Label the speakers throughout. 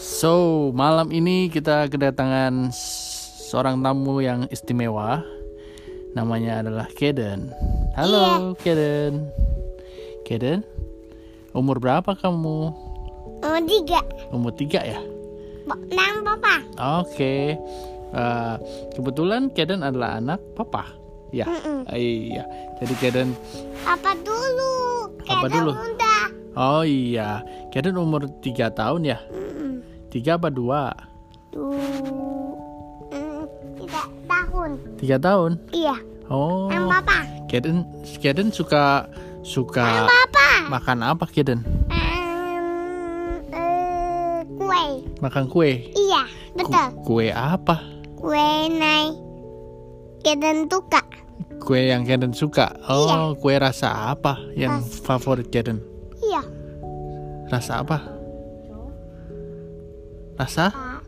Speaker 1: So, malam ini kita kedatangan seorang tamu yang istimewa. Namanya adalah Keden. Halo, Keden. Keden, umur berapa kamu?
Speaker 2: Nomor Oh, tiga.
Speaker 1: Umur tiga ya?
Speaker 2: Bo- Nang papa.
Speaker 1: Oke. Eh, kebetulan Keden adalah anak papa. Ya.
Speaker 2: Mm-mm.
Speaker 1: Iya. Jadi Keden
Speaker 2: Apa dulu?
Speaker 1: Apa
Speaker 2: Kadang
Speaker 1: dulu?
Speaker 2: Bunda.
Speaker 1: Oh iya, Keden umur 3 tahun ya?
Speaker 2: Mm-mm.
Speaker 1: 3 apa 2?
Speaker 2: Du- Mm, Tiga tahun.
Speaker 1: 3 tahun.
Speaker 2: Iya.
Speaker 1: Oh.
Speaker 2: Nang papa.
Speaker 1: Keden Keden suka suka
Speaker 2: Papa.
Speaker 1: makan apa Keden?
Speaker 2: Em, eh, kue.
Speaker 1: Makan kue.
Speaker 2: Iya.
Speaker 1: Ku-
Speaker 2: Betul.
Speaker 1: kue apa?
Speaker 2: Kue naik. Kadang tuka.
Speaker 1: Kue yang Keden suka. Oh, kue rasa apa yang favorit Keden?
Speaker 2: Iya.
Speaker 1: Rasa apa? Rasa
Speaker 2: Kak.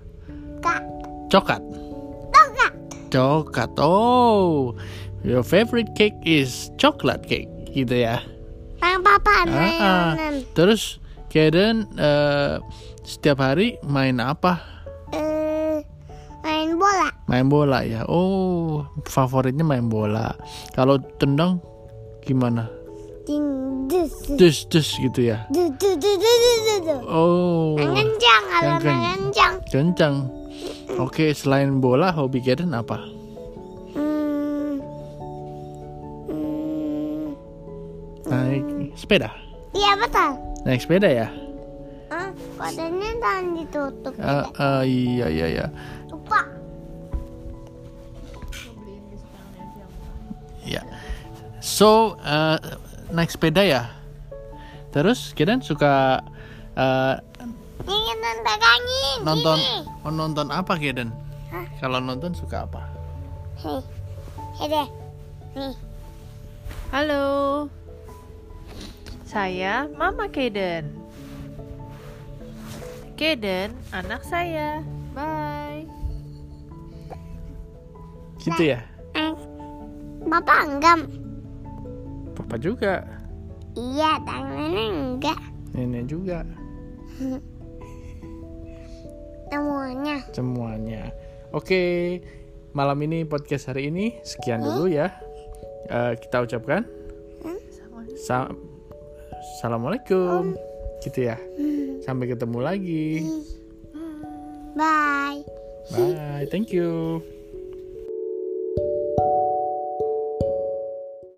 Speaker 2: Kak.
Speaker 1: coklat.
Speaker 2: Tuka.
Speaker 1: Coklat. Oh. Your favorite cake is chocolate cake gitu ya.
Speaker 2: Nang papa. Nang.
Speaker 1: Ah, ah.
Speaker 2: nang.
Speaker 1: Terus Kaden eh, setiap hari main apa?
Speaker 2: Eh, main bola.
Speaker 1: Main bola ya. Oh, favoritnya main bola. Kalau tendang gimana?
Speaker 2: Ding, dus,
Speaker 1: Dus dus gitu ya.
Speaker 2: du, du, du, du, du, du, du.
Speaker 1: Oh,
Speaker 2: Mengenjang, kalau
Speaker 1: Kencang.
Speaker 2: mengenjang.
Speaker 1: kencang. Oke, selain bola hobi Kaden apa?
Speaker 2: Hmm. Hmm.
Speaker 1: Naik sepeda.
Speaker 2: Iya betul.
Speaker 1: Naik sepeda ya?
Speaker 2: Ah, kodenya jangan ditutup.
Speaker 1: Eh, eh, iya iya iya.
Speaker 2: Lupa.
Speaker 1: Ya. So, eh, naik sepeda ya. Terus Kaden suka eh,
Speaker 2: Ingin pegangin.
Speaker 1: nonton
Speaker 2: Ini.
Speaker 1: oh, nonton apa Keden?
Speaker 2: Hah?
Speaker 1: Kalau nonton suka apa?
Speaker 2: Nih. Ini deh. Nih.
Speaker 3: Halo, saya Mama Kaden. Kaden, anak saya. Bye.
Speaker 1: Gitu ya.
Speaker 2: Eh, Bapak enggak.
Speaker 1: Papa juga,
Speaker 2: Iya, tangannya enggak.
Speaker 1: nenek juga,
Speaker 2: Semuanya.
Speaker 1: semuanya. Oke, malam ini podcast hari ini sekian dulu ya. Eh, kita ucapkan sa- assalamualaikum, gitu ya. Sampai ketemu lagi.
Speaker 2: Bye.
Speaker 1: Bye, thank you.